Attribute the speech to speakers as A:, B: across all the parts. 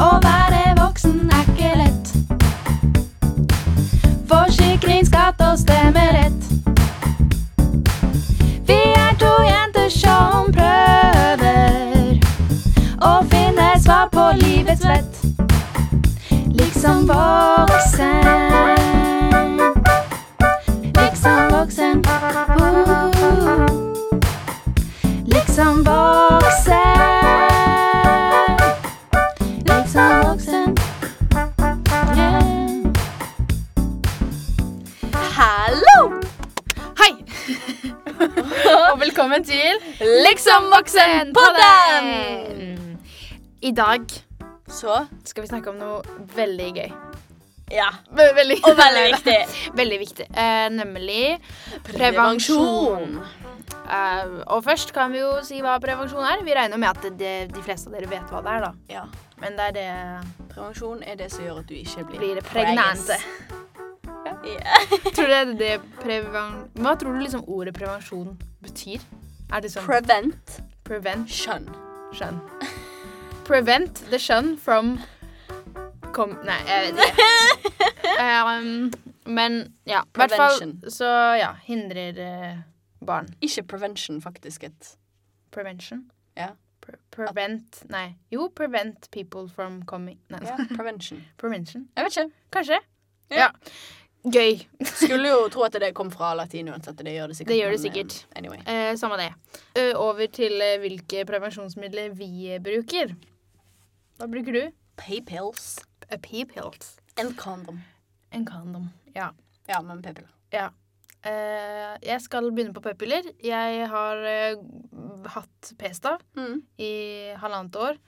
A: Å være voksen er ikke lett. Forsikring, skatt og stemmerett. Vi er to jenter som prøver å finne svar på livets vett. Liksom voksen. Liksom voksen. Uh. Liksom voksen. Liksom voksen. Yeah.
B: Hallo!
C: Hei! Og velkommen til
B: Liksom voksen
C: Podden! I dag
B: Så
C: skal vi snakke om noe veldig gøy.
B: ja.
C: Ve- Veldig,
B: Og veldig viktig.
C: Veldig viktig. Eh, nemlig prevensjon. Eh, og først kan vi jo si hva prevensjon er. Vi regner med at de, de fleste av dere vet hva det er, da.
B: Ja.
C: Men det er det
B: Prevensjon er det som gjør at du ikke blir,
C: blir pregnant.
B: Ja.
C: Tror du det er det preven... Hva tror du liksom ordet prevensjon betyr? Er det sånn
B: Prevent
C: prevent?
B: skjønn.
C: skjønn. Prevent the skjønn from Kom... Nei, jeg vet ikke. Um, men ja, i hvert fall
B: Prevention.
C: så ja, hindrer eh, barn
B: Ikke prevention, faktisk. et
C: prevention.
B: Ja.
C: Pre prevent Nei. Jo, prevent people from coming Nei,
B: ja, prevention.
C: prevention.
B: Jeg vet ikke.
C: Kanskje.
B: Ja.
C: Ja. Gøy.
B: Skulle jo tro at det kom fra latin uansett. Det gjør det sikkert.
C: Det gjør det
B: men, eh,
C: sikkert.
B: Anyway.
C: Eh, samme det. Eh, over til eh, hvilke prevensjonsmidler vi eh, bruker. Hva bruker du?
B: P-pills
C: A p-pills.
B: and condom.
C: En kondom. Ja.
B: Ja, men p-piller.
C: Ja. Eh, jeg skal begynne på p-piller. Jeg har eh, hatt p-stav
B: Mm.
C: i halvannet år.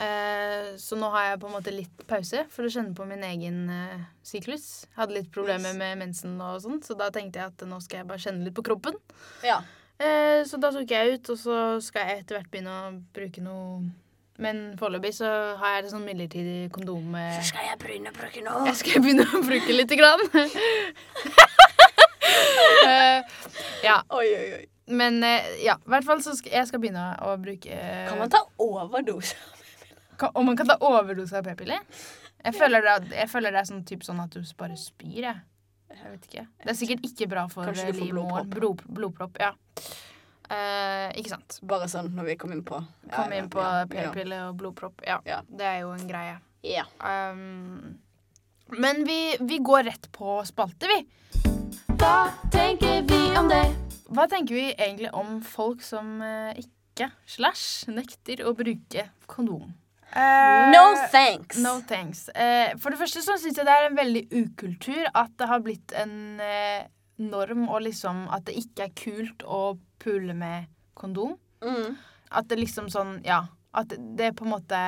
C: Eh, så nå har jeg på en måte litt pause for å kjenne på min egen eh, syklus. Jeg hadde litt problemer
B: Nice.
C: med mensen og sånt, så da tenkte jeg at nå skal jeg bare kjenne litt på kroppen.
B: Ja.
C: Eh, så da tok jeg ut, og så skal jeg etter hvert begynne å bruke noe Men foreløpig så har jeg et sånn midlertidig kondom. eh,
B: skal jeg begynne å bruke nå.
C: jeg skal begynne å bruke lite grann. Eh, ja,
B: Oi, oi, oi.
C: men eh, ja, i hvert fall så skal jeg skal begynne å bruke eh,
B: Kan man ta overdose?
C: kan- Om man kan ta overdose av p-piller? Jeg føler det, at- jeg føler det er sånn, typ sånn at du bare spyr, jeg. Jeg vet ikke. Det er sikkert ikke bra for
B: Kanskje du får
C: livmoren. Blod, blodpropp. Ja. Eh, ikke sant.
B: Bare sånn når vi kom inn på ja,
C: Kom inn på
B: ja, ja,
C: p-piller og blodpropp. Ja,
B: Ja.
C: det er jo en greie.
B: Ja.
C: Um, men vi, vi går rett på spalte, vi.
A: Hva tenker vi om det?
C: Hva tenker vi egentlig om folk som eh, ikke slash nekter å bruke kondom?
B: Eh, No thanks.
C: No thanks. Eh, for det første så syns jeg det er en veldig ukultur at det har blitt en eh, norm og liksom at det ikke er kult å pule med kondom.
B: Mm.
C: At det liksom sånn Ja. At det på en måte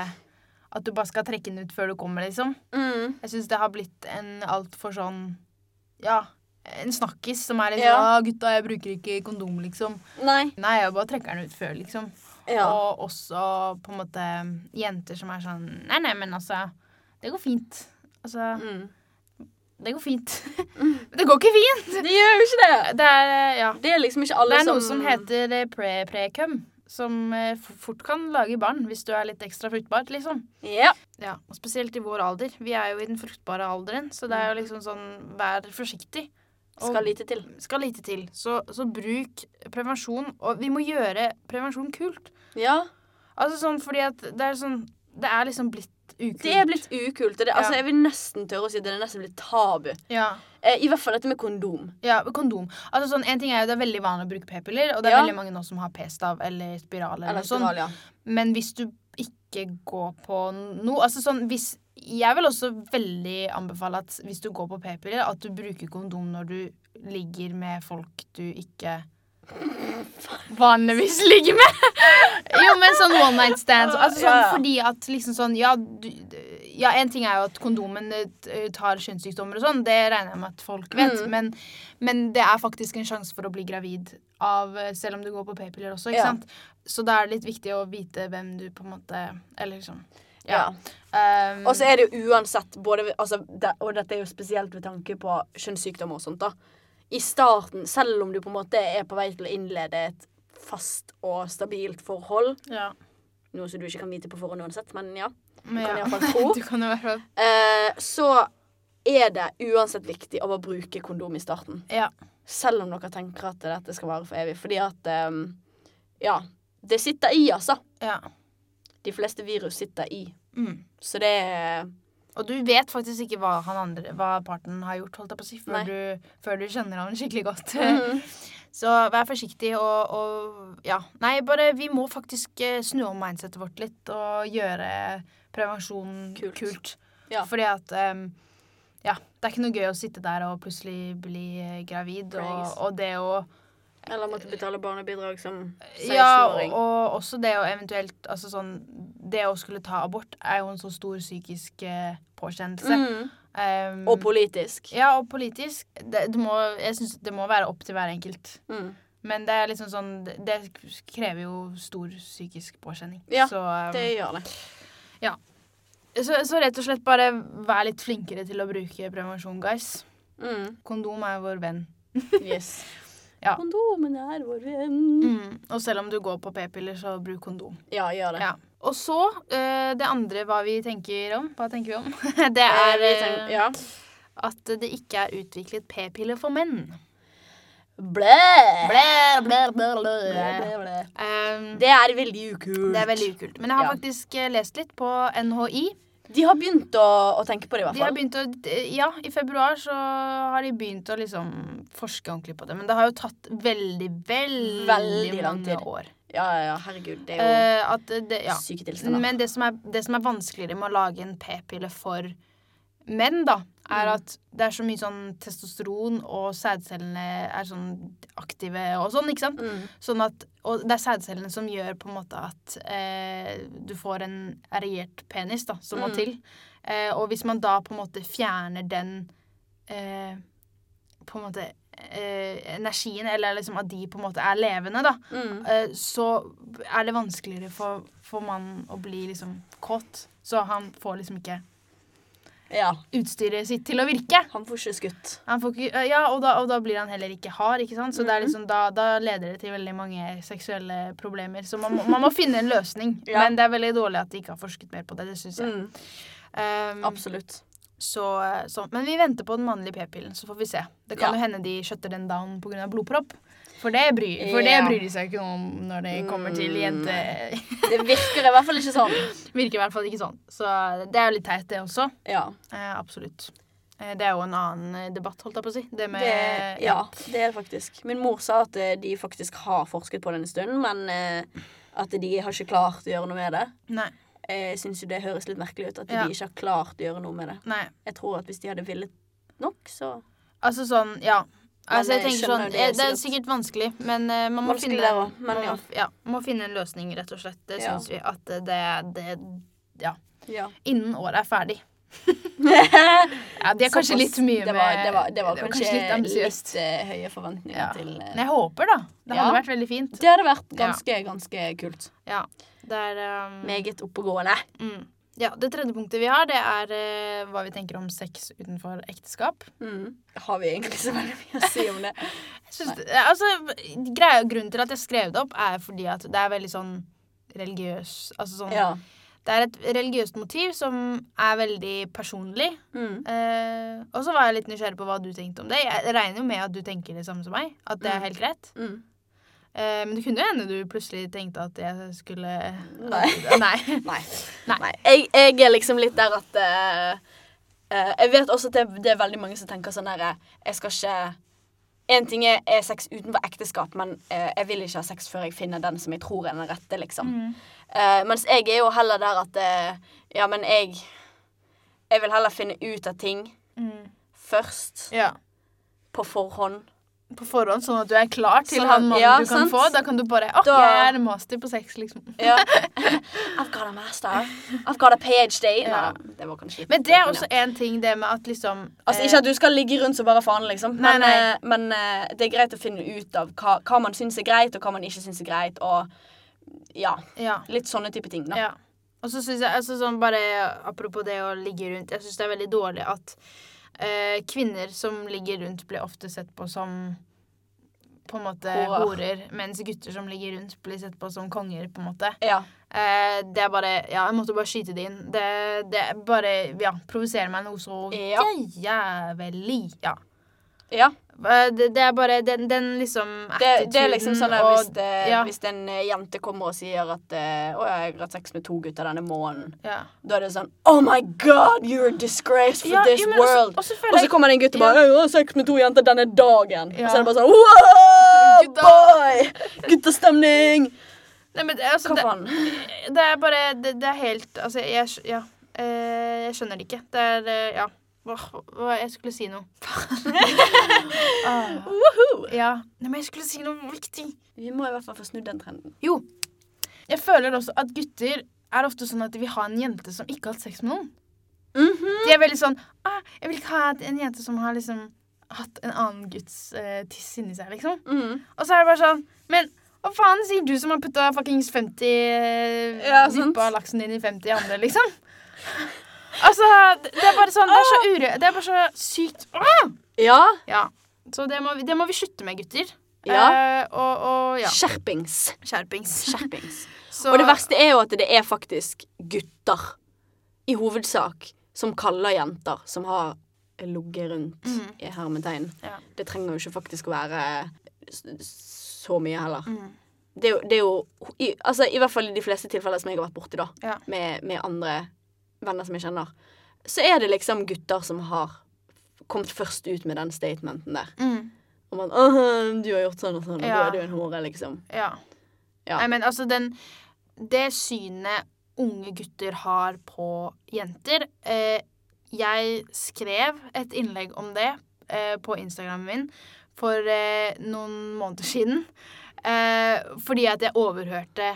C: At du bare skal trekke den ut før du kommer, liksom.
B: Mm.
C: Jeg syns det har blitt en altfor sånn Ja, en snakkis som er litt sånn
B: Ja.
C: «Ah, 'Gutta, jeg bruker ikke kondom', liksom.
B: Nei.
C: Nei, jeg bare trekker den ut før, liksom.
B: Ja.
C: Og også på en måte jenter som er sånn Nei, nei, men altså Det går fint. Altså
B: Mm.
C: Det går fint. Men det går ikke fint!
B: Det gjør jo ikke det.
C: Det er eh, Ja.
B: Det er liksom ikke alle
C: Det er
B: som
C: noe som heter eh, pre precum. Som eh, f- fort kan lage barn hvis du er litt ekstra fruktbar, liksom.
B: Ja.
C: Ja, og Spesielt i vår alder. Vi er jo i den fruktbare alderen, så det
B: Mm.
C: er jo liksom sånn Vær forsiktig. Og-
B: Skal lite til.
C: skal lite til. Så, så bruk prevensjon. Og vi må gjøre prevensjon kult.
B: Ja.
C: Altså sånn fordi at det er sånn Det er liksom blitt ukult.
B: Det er blitt ukult. og Det, altså,
C: Ja.
B: Jeg vil nesten tørre å si at det er nesten blitt tabu.
C: ja,
B: Eh, I hvert fall dette med kondom.
C: ja, kondom. Altså sånn, en ting er jo Det er veldig vanlig å bruke p-piller, og det er
B: Ja.
C: veldig mange nå som har p-stav eller spiral. Eller
B: Eller
C: noe sånt.
B: Australia.
C: Men hvis du ikke går på noe altså sånn, hvis, Jeg vil også veldig anbefale at hvis du går på p-piller, at du bruker kondom når du ligger med folk du ikke vanligvis ligger med. jo, men sånn one night stands. Altså sånn
B: Ja, ja.
C: fordi at liksom sånn Ja, du, ja en ting er jo at kondomen eh, tar kjønnssykdommer og sånn, det regner jeg med at folk vet,
B: Mm.
C: men, men det er faktisk en sjanse for å bli gravid av eh, Selv om du går på p-piller også, ikke
B: Ja.
C: sant? Så da er det litt viktig å vite hvem du på en måte Eller liksom
B: Ja.
C: um,
B: Og så er det jo uansett både, ved- altså, det, Og dette er jo spesielt ved tanke på kjønnssykdommer og sånt. da I starten, selv om du på en måte er på vei til å innlede et fast og stabilt forhold,
C: ehm, ja.
B: Noe som du ikke kan vite på forhånd uansett, men ja.
C: Men
B: kan i
C: ja.
B: hvert fall tro.
C: Du kan i hvert fall
B: Eh, så er det uansett viktig å bare bruke kondom i starten.
C: Ja.
B: Selv om dere tenker at dette skal vare for evig. Fordi at ehm, Ja. Det sitter i, altså.
C: Ja.
B: De fleste virus sitter i.
C: Mm.
B: Så det er
C: Og du vet faktisk ikke hva, han andre, hva parten har gjort, holdt jeg på å si,
B: Nei.
C: før, du, før du kjenner han skikkelig godt.
B: Mhm.
C: Så vær forsiktig og, og Ja. Nei, bare vi må faktisk eh, snu om mindsetet vårt litt og gjøre prevensjon
B: Kult.
C: kult.
B: Ja.
C: Fordi at em, Ja, det er ikke noe gøy å sitte der og plutselig bli eh, gravid, og,
B: Praise.
C: og det å
B: Eller måtte betale barnebidrag som Mm.
C: Ja, og,
B: 16-åring.
C: og også det å eventuelt Altså sånn Det å skulle ta abort er jo en så stor psykisk eh, påkjennelse.
B: Mm.
C: Em,
B: Og politisk.
C: ja, og politisk. Det, det må, jeg synes det må være opp til hver enkelt.
B: Mm.
C: Men det er liksom sånn Det det krever jo stor psykisk påkjenning.
B: Ja,
C: så, um,
B: Det gjør det.
C: så, så rett og slett bare vær litt flinkere til å bruke prevensjon, guys.
B: Mm.
C: Kondom er vår venn.
B: Yes.
C: Ja.
B: Kondomen er vår venn.
C: Og selv om du går på p-piller, så bruk kondom.
B: Mm. Ja, gjør det.
C: Ja. Og så eh, det andre hva vi tenker om. Hva tenker vi om? det
B: Eh,
C: er
B: vi tenker-
C: eh,
B: ja.
C: at det ikke er utviklet p-piller for menn.
B: Blæ!
C: Blæ, blæ, blæ, blæ.
B: Blæ, blæ, blæ.
C: Um,
B: Det er veldig ukult.
C: det er veldig ukult. Men jeg har
B: Ja.
C: faktisk eh, lest litt på NHI.
B: De har begynt å, å tenke på det, i hvert
C: De har
B: fall.
C: begynt å, ja, I februar så har de begynt å liksom forske ordentlig på det. Men det har jo tatt veldig, veldig,
B: Veldig lang
C: mange
B: tid.
C: år.
B: Ja, ja, ja, herregud. Det er jo
C: Eh, at det, ja.
B: syke tilstander.
C: Men det som, er, det som er vanskeligere med å lage en p-pille for menn, da, er
B: Mm.
C: at det er så mye sånn testosteron, og sædcellene er sånn aktive og sånn, ikke sant?
B: Mm.
C: Sånn at, og det er sædcellene som gjør på en måte at eh, du får en erigert penis, da, som må
B: Mm.
C: til. Eh, og hvis man da på en måte fjerner den eh, på en måte eh, energien, eller liksom at de på en måte er levende, da,
B: Mm.
C: eh, så er det vanskeligere for, for mannen å bli liksom kåt. Så han får liksom ikke
B: Ja.
C: utstyret sitt til å virke.
B: Han får ikke skutt.
C: Han får ikke, eh, ja, og da, og da blir han heller ikke hard, ikke sant? Så
B: Mhm.
C: det er liksom, da, da leder det til veldig mange seksuelle problemer. Så man må, man må finne en løsning.
B: Ja.
C: Men det er veldig dårlig at de ikke har forsket mer på det, det syns jeg.
B: Mm.
C: Um,
B: Absolutt.
C: så, så, men vi venter på den mannlige p-pillen, så får vi se. Det kan
B: Ja.
C: jo hende de skjøtter den down pga. blodpropp. For det, bryr, for det
B: Ja.
C: bryr de seg ikke om når det kommer til
B: Mm,
C: jente...
B: Det virker i hvert fall ikke sånn.
C: Virker i hvert fall ikke sånn. Så det er jo litt teit, det også.
B: Ja.
C: Eh, absolutt. Eh, det er jo en annen eh, debatt, holdt jeg på å si. Det med
B: Det,
C: eh,
B: ja, det er det faktisk. Min mor sa at eh, de faktisk har forsket på det en stund, men eh, at de har ikke klart å gjøre noe med det. Eh,
C: Nei.
B: Jeg syns jo det høres litt merkelig ut at
C: Ja.
B: de ikke har klart å gjøre noe med det.
C: nei.
B: Jeg tror at hvis de hadde villet nok, så
C: Altså sånn, ja. Altså, jeg
B: jeg
C: tenker
B: skjønner
C: sånn,
B: det
C: eh, det er
B: sikkert.
C: sikkert vanskelig, men eh, man må
B: Vanskelig
C: finne,
B: der også, men
C: man
B: ja.
C: må, f- ja, man må finne en løsning, rett og slett. Det
B: Ja.
C: syns vi at eh, det, det Ja.
B: Ja.
C: Innen året er ferdig. Ja, det er kanskje
B: Såpass-
C: litt mye
B: det var,
C: med
B: det var, det var
C: det var
B: kanskje,
C: kanskje litt
B: litt,
C: ambisiøst.
B: eh, høye forventninger
C: Ja.
B: til eh,
C: Men jeg håper, da. Det hadde
B: Ja.
C: vært veldig fint.
B: Det hadde vært
C: Ja.
B: ganske, ganske kult.
C: Ja. Det er eh,
B: Meget oppegående.
C: mm. Ja, Det tredje punktet vi har, det er eh, hva vi tenker om sex utenfor ekteskap.
B: Har vi egentlig så veldig mye å si om det?
C: Jeg synes, det- altså, greia, grunnen til at jeg skrev det opp, er fordi at det er veldig sånn religiøs Altså sånn
B: Ja.
C: Det er et religiøst motiv som er veldig personlig.
B: Mm.
C: Eh, og så var jeg litt nysgjerrig på hva du tenkte om det. Jeg regner jo med at du tenker det samme som meg. At det
B: Mm.
C: er helt greit.
B: Mm.
C: Eh, men det kunne jo hende du plutselig tenkte at jeg skulle
B: Nei.
C: Nei.
B: Nei.
C: Nei.
B: Jeg, jeg er liksom litt der at eh, eh, Jeg vet også at det, det er veldig mange som tenker sånn derre Jeg skal ikke En ting er, er sex utenfor ekteskap, men eh, jeg vil ikke ha sex før jeg finner den som jeg tror er den rette, liksom.
C: Mm.
B: Eh, mens jeg er jo heller der at eh, Ja, men jeg Jeg vil heller finne ut av ting
C: Mm.
B: først.
C: Ja.
B: På forhånd.
C: På forhånd, sånn at du er klar til
B: Sånn at-
C: han mannen
B: ja,
C: du kan
B: sant?
C: få. Da kan du bare Å,
B: Da-
C: jeg er master på sex, liksom.
B: Ja. I've got a master. I've got a PhD.
C: Ja.
B: Nei, det var kanskje litt-
C: Men det er
B: men ja.
C: også en ting, det med at liksom
B: Altså
C: eh,
B: Ikke at du skal ligge rundt som bare faen, liksom.
C: Nei,
B: Men,
C: nei.
B: eh, men eh, det er greit å finne ut av hva, hva man syns er greit, og hva man ikke syns er greit. Og ja,
C: eh, ja.
B: litt sånne type ting, da.
C: Ja. Og så syns jeg altså sånn bare Apropos det å ligge rundt. Jeg syns det er veldig dårlig at eh, kvinner som ligger rundt, blir ofte sett på som på en måte
B: Horer.
C: horer, mens gutter som ligger rundt, blir sett på som konger, på en måte.
B: Ja.
C: Eh, det er bare Ja, jeg måtte bare skyte det inn. Det, det er bare Ja, provoserer meg noe så
B: Ja.
C: jævlig. Ja.
B: ja.
C: Eh, Det, det er bare den, den liksom
B: Det, det er liksom sånn at
C: attituden
B: hvis, det,
C: ja,
B: hvis en eh, jente kommer og sier at eh, 'Å, jeg har hatt sex med to gutter denne måneden',
C: ja.
B: da er det sånn 'Oh my God, you're a disgrace for
C: Ja,
B: this
C: jo, men også-
B: world'.
C: også føler
B: og så
C: jeg-
B: kommer det en gutt og
C: Ja.
B: bare 'Jeg har hatt sex med to jenter denne dagen'. Og
C: Ja.
B: så er det bare sånn 'Wow,
C: Gutta!»
B: boy! Guttastemning!
C: Nei, men det, altså,
B: Hva
C: det,
B: faen?
C: det er bare Det, det er helt Altså, jeg, skj- ja, eh, jeg skjønner det ikke. Det er eh, Ja. Hva, hva jeg skulle si noe. ah,
B: Woohoo!
C: ja. Nei, men jeg skulle si noe viktig.
B: Vi må i hvert fall få snudd den trenden.
C: Jo. Jeg føler også at gutter er ofte sånn at de vil ha en jente som ikke har hatt sex med noen.
B: Mhm.
C: De er veldig sånn ah, 'Jeg vil ikke ha et- en jente som har liksom hatt en annen gutts eh, tiss inni seg', liksom.
B: Mhm.
C: Og så er det bare sånn Men hva faen sier du som har putta fuckings 50 eh,
B: Ja, sant.
C: Dyppa laksen din i 50 andre, liksom? altså, det det er bare sånn Det er så ure... Det er bare så sykt ah!
B: Ja.
C: Ja. Så det må, vi, det må vi slutte med, gutter.
B: Ja.
C: Eh, og, og ja.
B: Skjerpings.
C: Skjerpings.
B: Skjerpings.
C: Så-
B: Og det verste er jo at det er faktisk gutter, i hovedsak, som kaller jenter som har ligget rundt
C: Mhm.
B: i hermetegn.
C: Ja.
B: Det trenger jo ikke faktisk å være s- så mye heller.
C: Mhm.
B: Det, er jo, det er jo i, altså, I hvert fall i de fleste tilfeller som jeg har vært borti, da,
C: Ja.
B: med, med andre venner som jeg kjenner, så er det liksom gutter som har kommet først ut med den statementen der.
C: Mm,
B: Om at «Åh, 'Du har gjort sånn og sånn, og da
C: Ja.
B: er du en hore', liksom.
C: ja.
B: Ja.
C: Nei, men altså, den Det synet unge gutter har på jenter eh, Jeg skrev et innlegg om det eh, på Instagramen min for eh, noen måneder siden. Eh, fordi at jeg overhørte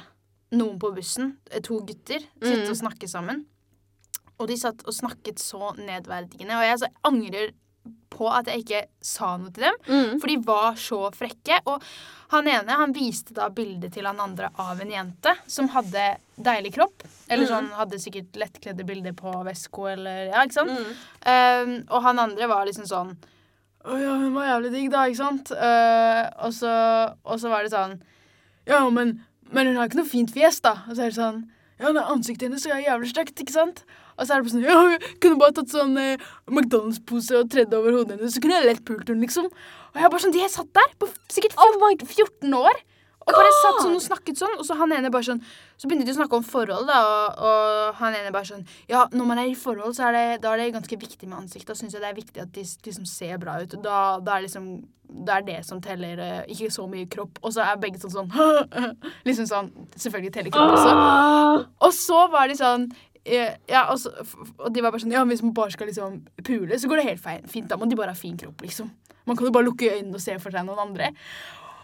C: noen på bussen, eh, to gutter, sitte
B: Mm.
C: og snakke sammen. Og de satt og snakket så nedverdigende. Og jeg altså, angrer på at jeg ikke sa noe til dem.
B: Mm.
C: For de var så frekke. Og han ene han viste da bildet til han andre av en jente som hadde deilig kropp.
B: Mm.
C: Eller sånn hadde sikkert lettkledde bilder på vesko eller Ja, ikke sant?
B: Mm.
C: Um, og han andre var liksom sånn Å ja, hun var jævlig digg, da, ikke sant? Eh, og, så, og så var det sånn Ja, men, men hun har ikke noe fint fjes, da. Og så er det sånn Ja, det er ansiktet hennes er jævlig stygt, ikke sant? Og så er det bare sånn Ja, hun kunne bare tatt sånn eh, McDonald's-pose og tredd over hodet hennes, så kunne jeg lett pult henne, liksom. Og jeg bare sånn De har satt der på sikkert
B: Oh my
C: 14 år. Og bare satt sånn og snakket sånn, og så han ene bare sånn Så begynte de å snakke om forhold, da, og, og han ene bare sånn Ja, når man er i forhold, så er det, da er det ganske viktig med ansikt. Da syns jeg det er viktig at de s- liksom ser bra ut. Da, da er liksom da er det som teller, eh, ikke så mye kropp. Og så er begge sånn sånn Liksom sånn Selvfølgelig teller kropp også. Og så var de sånn eh, ja, og, så, f- f- og de var bare sånn Ja, hvis man bare skal liksom pule, så går det helt fein, fint. Da må de bare ha fin kropp, liksom. Man kan jo bare lukke øynene og se for seg noen andre.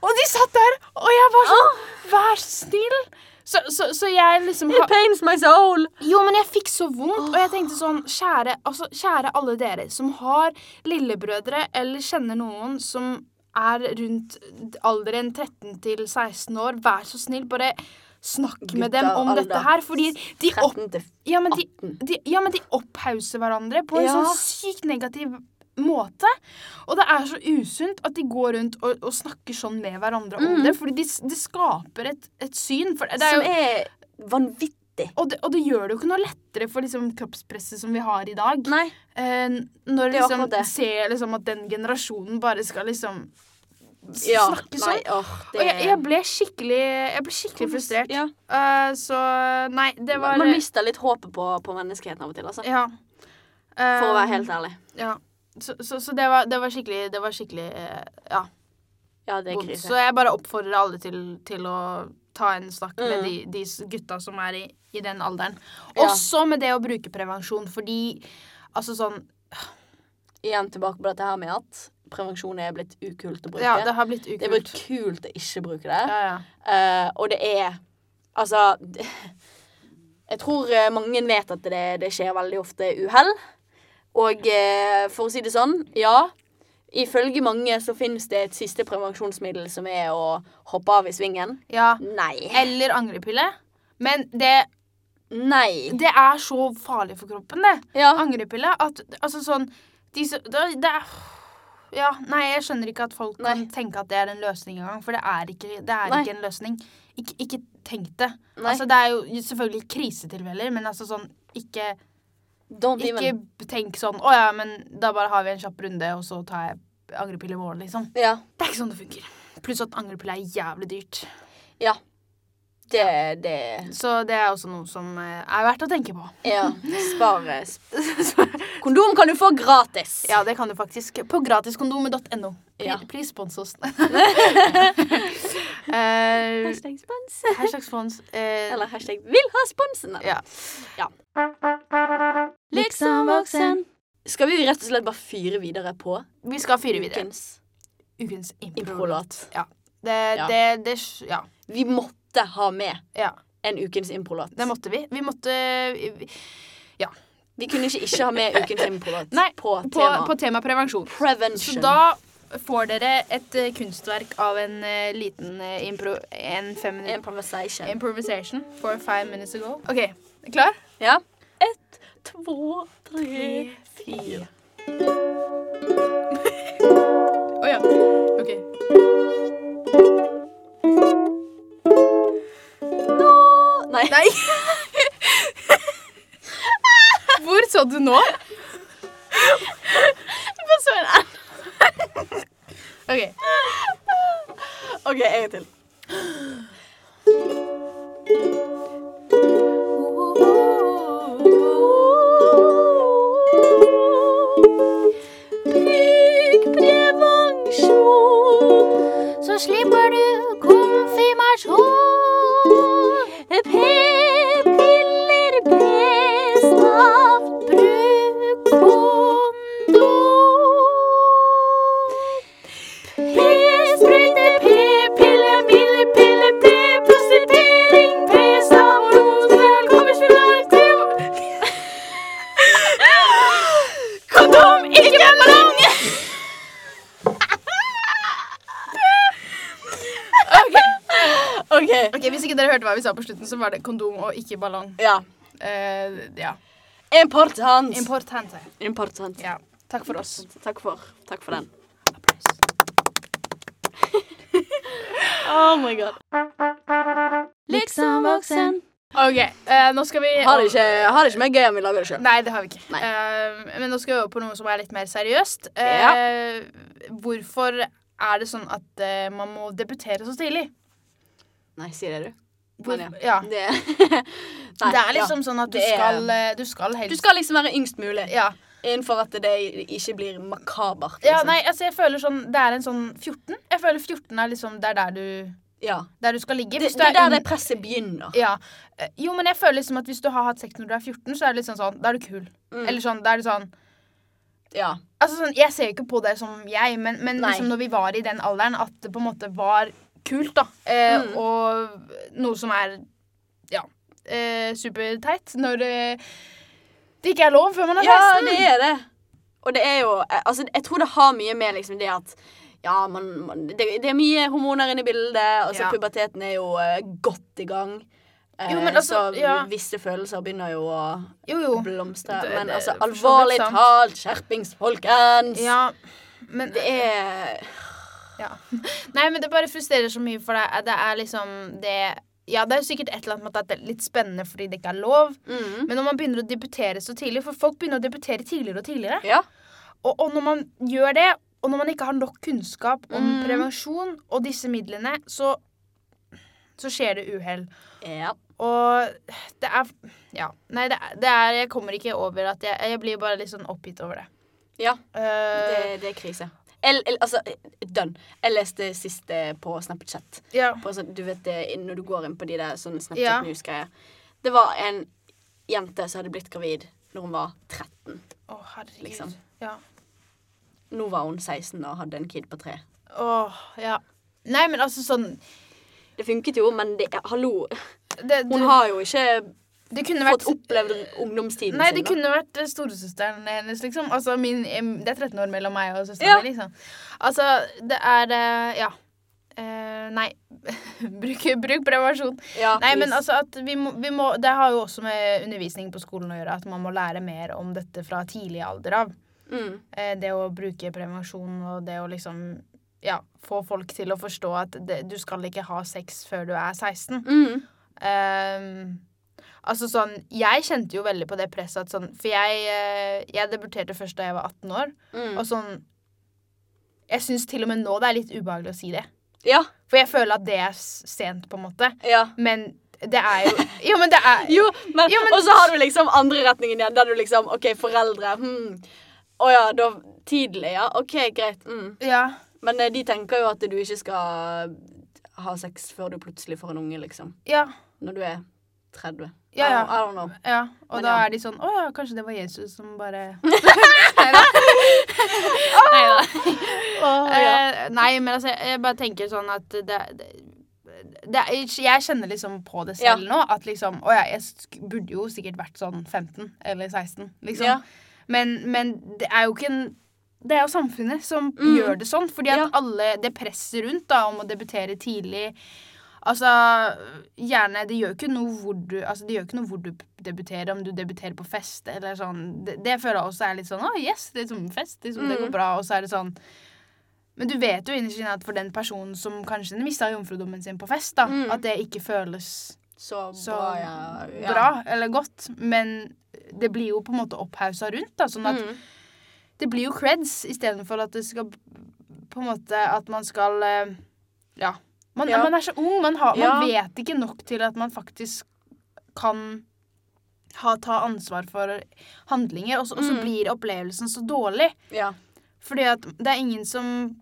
C: Og de satt der, og jeg var sånn Vær så snill! Så, så, så jeg liksom har-
B: It pains my soul!
C: jo, men jeg fikk så vondt, og jeg tenkte sånn kjære, altså, kjære alle dere som har lillebrødre eller kjenner noen som er rundt alderen 13 til 16 år, vær så snill, bare snakk med dem
B: Gutter,
C: om
B: alder.
C: dette her. Fordi de, opp,
B: 13 til
C: ja, men de,
B: 18.
C: de, ja, men de opphauser hverandre på en
B: Ja.
C: sånn sykt negativ måte. Og det er så usunt at de går rundt og, og snakker sånn med hverandre om det, fordi det de skaper et, et syn. For det er jo,
B: Mhm. Som er vanvittig.
C: og det, og det gjør det jo ikke noe lettere for liksom, kroppspresset som vi har i dag.
B: Nei.
C: Eh, når du
B: Det er
C: liksom
B: akkurat det.
C: ser liksom, at den generasjonen bare skal liksom s-
B: Ja,
C: snakke
B: nei,
C: sånn.
B: åh, det
C: Og jeg, jeg ble skikkelig, jeg ble skikkelig frustrert.
B: Ja.
C: Eh, så nei, det var
B: Man mister litt håpet på, på menneskeheten av og til, altså.
C: Ja. Eh,
B: For å være helt ærlig.
C: Ja. Så, så, så det, var, det var skikkelig, det var skikkelig eh, ja,
B: Ja, det er
C: vondt.
B: krise.
C: Så jeg bare oppfordrer alle til, til å ta en snakk med
B: Mm.
C: de, de s- gutta som er i, i den alderen.
B: Ja.
C: Også med det å bruke prevensjon, fordi altså sånn
B: Igjen tilbake på dette her med at prevensjon er blitt ukult å bruke.
C: Ja,
B: det,
C: det har blitt
B: er blitt
C: ukult.
B: kult å ikke bruke det.
C: Ja, ja.
B: Eh, og det er Altså det- Jeg tror eh, mange vet at det, det skjer veldig ofte uhell. Og eh, for å si det sånn, ja. Ifølge mange så finnes det et siste prevensjonsmiddel som er å hoppe av i svingen.
C: ja.
B: Nei.
C: Eller angrepille. Men det,
B: Nei.
C: det er så farlig for kroppen, det.
B: Ja.
C: Angrepille at Altså sånn de, som- det, det er ja, nei, jeg skjønner ikke at folk kan
B: Nei.
C: tenke at det er en løsning engang. For det er ikke, det er
B: Nei.
C: ikke en løsning. Ikke, ikke tenk det.
B: Nei.
C: Altså, det er jo selvfølgelig krisetilfeller, men altså sånn ikke,
B: Don't
C: ikke
B: even.
C: tenk sånn Å ja, men da bare har vi en kjapp runde, og så tar jeg angrepille i morgen, liksom.
B: Ja.
C: Det er ikke sånn det funker. Pluss at angrepille er jævlig dyrt.
B: ja. Det, det
C: Så det er også noe som eh, er verdt å tenke på.
B: Ja. Spare Kondom kan du få gratis.
C: Ja, det kan du faktisk. På gratiskondomet.no. Pl-
B: Ja.
C: Please spons oss. Eh,
B: Hashtag spons.
C: hashtag spons. eh,
B: Eller hashtag vil ha sponsen.
C: ja.
A: Liksom voksen.
B: Skal vi rett og slett bare fyre videre på
C: Vi skal fyre videre.
B: ukens
C: Ukens improlåt.
B: improlåt?
C: Det,
B: Ja.
C: det, det, sj- ja.
B: Vi måtte ha med
C: ja.
B: en ukens improlåt.
C: Det måtte vi. Vi måtte vi-
B: Vi kunne ikke ikke ha med ukens improlåt
C: Nei,
B: på
C: På,
B: tema
C: på tema prevensjon. Så
B: prevention.
C: da får dere et eh, kunstverk av en eh, liten eh, impro... En fem minutter
B: Improvisation.
C: Improvisation for five minutes ago. OK. Klar?
B: ja. Ett, to, tre, fire.
C: Å ja. OK.
B: Nei.
C: Nei. Hvor så du nå?
B: Hva så en annen?
C: OK.
B: OK, en gang til. Fikk prevensjon.
A: Så slipper du konfirmasjon. P-piller best av bruk kondom. P-sprøyte, p-pille, mildpille, p-prostituering, p-stav, rotfrøl, kobberspiller,
B: Kondom, ikke mange! OK.
C: Ok, Hvis ikke dere hørte hva vi sa på slutten, så var det kondom og ikke ballong.
B: Ja.
C: Eh, ja.
B: Important.
C: Importante.
B: Important.
C: Ja. Takk for oss.
B: Takk for, takk for den.
C: Applaus.
B: Oh my god.
A: Liksom voksen.
C: OK, eh, nå skal vi
B: Har det ikke, har det ikke mer gøy enn vi lager det sjøl.
C: Nei, det har vi ikke.
B: Nei.
C: Eh, men nå skal vi over på noe som er litt mer seriøst.
B: Ja.
C: Eh, Hvorfor er det sånn at eh, man må debutere så tidlig?
B: Nei, si det, du.
C: Hvor-
B: Men
C: ja.
B: Det, Nei,
C: Det er
B: ja.
C: liksom sånn at du
B: Det er-
C: skal, eh, du skal helst
B: Du skal liksom være yngst mulig
C: ja.
B: innenfor at det ikke blir makabert.
C: ja,
B: Liksom.
C: nei, altså jeg føler sånn Det er en sånn 14. Jeg føler 14 er liksom Det er der du,
B: Ja.
C: der du skal ligge.
B: Det,
C: Hvis du
B: det er der
C: ung-
B: det presset begynner.
C: Ja. Eh, Jo, men jeg føler liksom at hvis du har hatt sex når du er 14, så er det litt sånn sånn, da er du kul.
B: Mm.
C: Eller sånn, da er du sånn
B: Ja.
C: Altså sånn, Jeg ser jo ikke på det som jeg, men, men
B: Nei.
C: liksom når vi var i den alderen, at det på en måte var kult, da. Eh,
B: Mm.
C: Og noe som er ja, eh, superteit når eh, det ikke er lov før man er
B: ja,
C: 16.
B: det er det. Og det er jo eh, Altså, jeg tror det har mye med liksom det at ja, man, man, det, det er mye hormoner inne i bildet. Altså,
C: Ja.
B: Puberteten er jo eh, godt i gang. Eh,
C: Jo, men altså,
B: så
C: ja.
B: visse følelser begynner jo å
C: Jo, jo.
B: blomstre.
C: Det-
B: Men
C: det-
B: altså,
C: for så vidt
B: alvorlig
C: sant.
B: talt, skjerpings, folkens!
C: Ja, men
B: Det er
C: Ja. Nei, men det bare frustrerer så mye for deg. Det er liksom det Ja, det er jo sikkert et eller annet med at det er litt spennende fordi det ikke er lov.
B: mm.
C: Men når man begynner å debutere så tidlig For folk begynner å debutere tidligere og tidligere.
B: Ja.
C: Og, og når man gjør det, og når man ikke har nok kunnskap om
B: Mm.
C: prevensjon og disse midlene, så, så skjer det uhell.
B: ja.
C: Og det er Ja. Nei, det er, det er Jeg kommer ikke over at jeg Jeg blir bare litt sånn oppgitt over det.
B: Ja.
C: Eh,
B: Det, det er krise. El, el, altså, dønn. Jeg leste sist eh, på Snapchat.
C: ja.
B: På sånn, du vet det, inn- Når du går inn på de der sånne
C: Ja.
B: Snapchat News-greier. Det var en jente som hadde blitt gravid når hun var 13.
C: Å, herregud.
B: Liksom.
C: Ja.
B: Nå var hun 16 og hadde en kid på tre.
C: Åh, ja. Nei, men altså sånn
B: Det funket jo, men det, hallo
C: Det,
B: Hun
C: det,
B: har jo ikke
C: det kunne vært
B: fått opplevd ungdomstiden
C: Nei, det
B: sin. sånn da.
C: kunne vært eh, storesøsteren hennes, liksom. Altså, min, em, det er 13 år mellom meg og søsteren
B: Ja.
C: min, liksom. Altså, det er eh, Ja. Eh, nei. bruk, bruk prevensjon.
B: Ja,
C: Nei, men
B: please.
C: altså at vi må, vi må Det har jo også med undervisning på skolen å gjøre, at man må lære mer om dette fra tidlig alder av.
B: Mm.
C: Eh, Det å bruke prevensjon og det å liksom ja, få folk til å forstå at det, du skal ikke ha sex før du er 16.
B: Mm.
C: Ehm, altså sånn, Jeg kjente jo veldig på det presset. At sånn, for jeg, eh, jeg debuterte først da jeg var 18 år.
B: Mm.
C: Og sånn Jeg syns til og med nå det er litt ubehagelig å si det.
B: Ja.
C: For jeg føler at det er s- sent, på en måte.
B: ja.
C: Men det er jo Jo, men det er
B: Jo, men,
C: Jo, men-
B: Og så har du liksom andre retningen igjen, der du liksom OK, foreldre hmm. Å ja, da Tidlig, ja. OK, greit. Mm.
C: Ja.
B: Men eh, de tenker jo at du ikke skal ha sex før du plutselig får en unge, liksom.
C: Ja.
B: Når du er 30.
C: Ja, ja.
B: I don't, I don't know.
C: ja. Og
B: Men
C: da
B: ja.
C: er de sånn Å ja, kanskje det var Jesus som bare Eh, nei, men altså, jeg bare tenker sånn at det, det, det Jeg kjenner liksom på det selv nå. At liksom Å ja, jeg sk burde jo sikkert vært sånn 15 eller 16, liksom.
B: Ja.
C: Men, men det er jo ikke en det er jo samfunnet som
B: Mm.
C: gjør det sånn. Fordi at
B: Ja.
C: alle Det presset rundt da om å debutere tidlig Altså, gjerne Det gjør ikke noe hvor du Altså, det gjør ikke noe hvor du debuterer, om du debuterer på fest eller sånn. Det, det føler jeg også er litt sånn Å, yes, det er som fest. Liksom, Det
B: Mm.
C: går bra. Og så er det sånn men du vet jo innerst inne at for den personen som kanskje mista jomfrudommen sin på fest, da,
B: Mm.
C: at det ikke føles
B: Så,
C: så
B: bra,
C: bra,
B: ja. ja.
C: eller godt. Men det blir jo på en måte opphausa rundt. da, sånn at
B: Mm.
C: Det blir jo creds istedenfor at det skal På en måte at man skal eh, Ja. Man,
B: Ja.
C: man er så ung. Man, har, man
B: Ja.
C: vet ikke nok til at man faktisk kan ha, ta ansvar for handlinger, og så, og så
B: Mm.
C: blir opplevelsen så dårlig.
B: ja.
C: Fordi at det er ingen som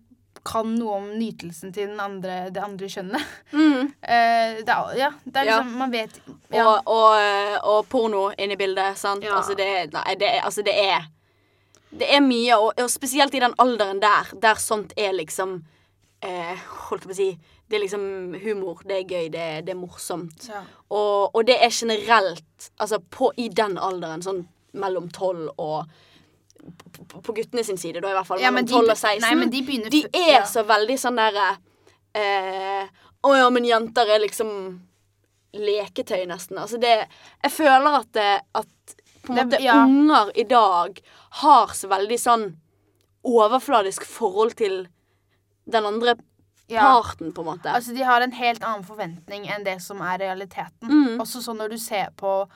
C: kan noe om nytelsen til den andre, det andre kjønnet.
B: Mm.
C: Eh, det er, ja, det er
B: Ja.
C: liksom Man vet
B: Og,
C: ja.
B: og, eh, og porno inne i bildet, sant.
C: Ja.
B: Altså, det, er- nei, det, er- altså, det er Det er mye, og, og spesielt i den alderen der, der sånt er liksom eh, Holdt jeg på å si Det er liksom humor, det er gøy, det, er- det er morsomt.
C: Ja.
B: Og, og det er generelt Altså på, i den alderen, sånn mellom 12 og på, på guttene sin side, da i hvert fall.
C: men
B: mellom
C: de,
B: 12 og 16.
C: nei, men de begynner
B: De
C: f-
B: er
C: ja.
B: så veldig sånn derre eh, Å ja, men jenter er liksom leketøy, nesten. Altså det Jeg føler at, det, at på en
C: Det-
B: måte
C: ja.
B: unger i dag har så veldig sånn overfladisk forhold til den andre
C: ja.
B: parten, på en måte.
C: Altså, de har en helt annen forventning enn det som er realiteten.
B: Mm.
C: Også sånn når du ser på,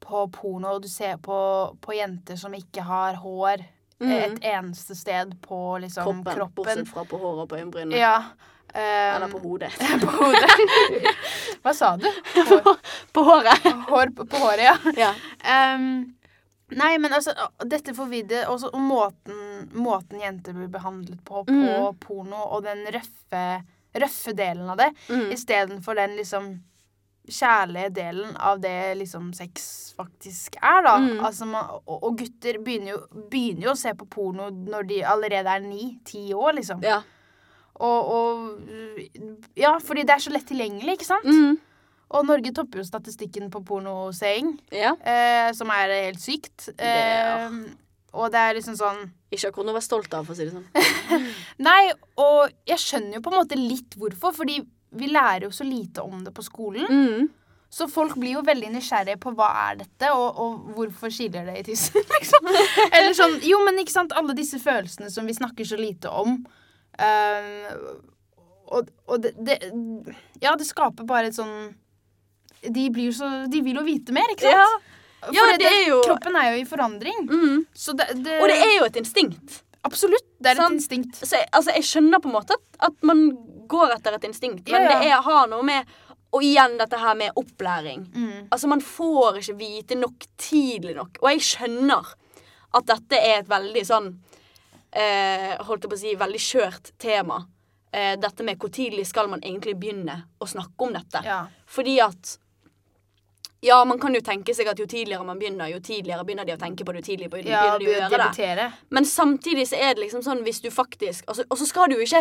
C: på porno, og du ser på, på jenter som ikke har hår eh,
B: Mm.
C: et eneste sted på liksom,
B: kroppen,
C: kroppen.
B: bortsett fra på håret og på øyenbrynene.
C: Ja.
B: Eller
C: eh,
B: Mm. på hodet.
C: på hodet. Hva sa du? Hår,
B: på håret.
C: hår på, på håret, ja.
B: Ja.
C: Ehm, nei, men altså, å- dette forvidde også og måten, måten jenter blir behandlet på på
B: Mm.
C: porno, og den røffe, røffe delen av det,
B: Mm.
C: istedenfor den liksom kjærlige delen av det liksom sex faktisk er, da.
B: Mm.
C: Altså, man, og, og gutter begynner jo, begynner jo å se på porno når de allerede er ni-ti år, liksom.
B: ja.
C: Og, og Ja, fordi det er så lett tilgjengelig, ikke sant?
B: Mm.
C: Og Norge topper jo statistikken på pornoseing.
B: ja.
C: Eh, som er helt sykt. Eh,
B: er-
C: Og det er liksom sånn
B: Ikke akkurat noe å være stolt av, for å si det sånn.
C: Nei, og jeg skjønner jo på en måte litt hvorfor, fordi vi lærer jo så lite om det på skolen.
B: Mm.
C: Så folk blir jo veldig nysgjerrige på hva er dette, og, og hvorfor skiller det i tissen, liksom. Eller sånn Jo, men ikke sant, alle disse følelsene som vi snakker så lite om. Eh, og og det, det Ja, det skaper bare et sånn De blir jo så De vil jo vite mer, ikke sant?
B: Ja.
C: For
B: Ja, det er jo-
C: Kroppen er jo i forandring.
B: Mm.
C: Så det, det,
B: Og det er jo et instinkt.
C: Absolutt. Det er
B: Sant?
C: et instinkt.
B: så jeg, altså, jeg skjønner på en måte at, at man går etter et instinkt, men
C: Ja, ja.
B: det er, har noe med Og igjen dette her med opplæring.
C: Mm.
B: Altså, man får ikke vite nok tidlig nok. Og jeg skjønner at dette er et veldig sånn eh, Holdt jeg på å si veldig skjørt tema. Eh, dette med hvor tidlig skal man egentlig begynne å snakke om dette.
C: Ja.
B: Fordi at Ja, man kan jo tenke seg at jo tidligere man begynner, jo tidligere begynner de å tenke på det, jo tidligere begynner
C: Ja,
B: de å gjøre det.
C: debutere.
B: Men samtidig så er det liksom sånn hvis du faktisk altså, Og så skal du jo ikke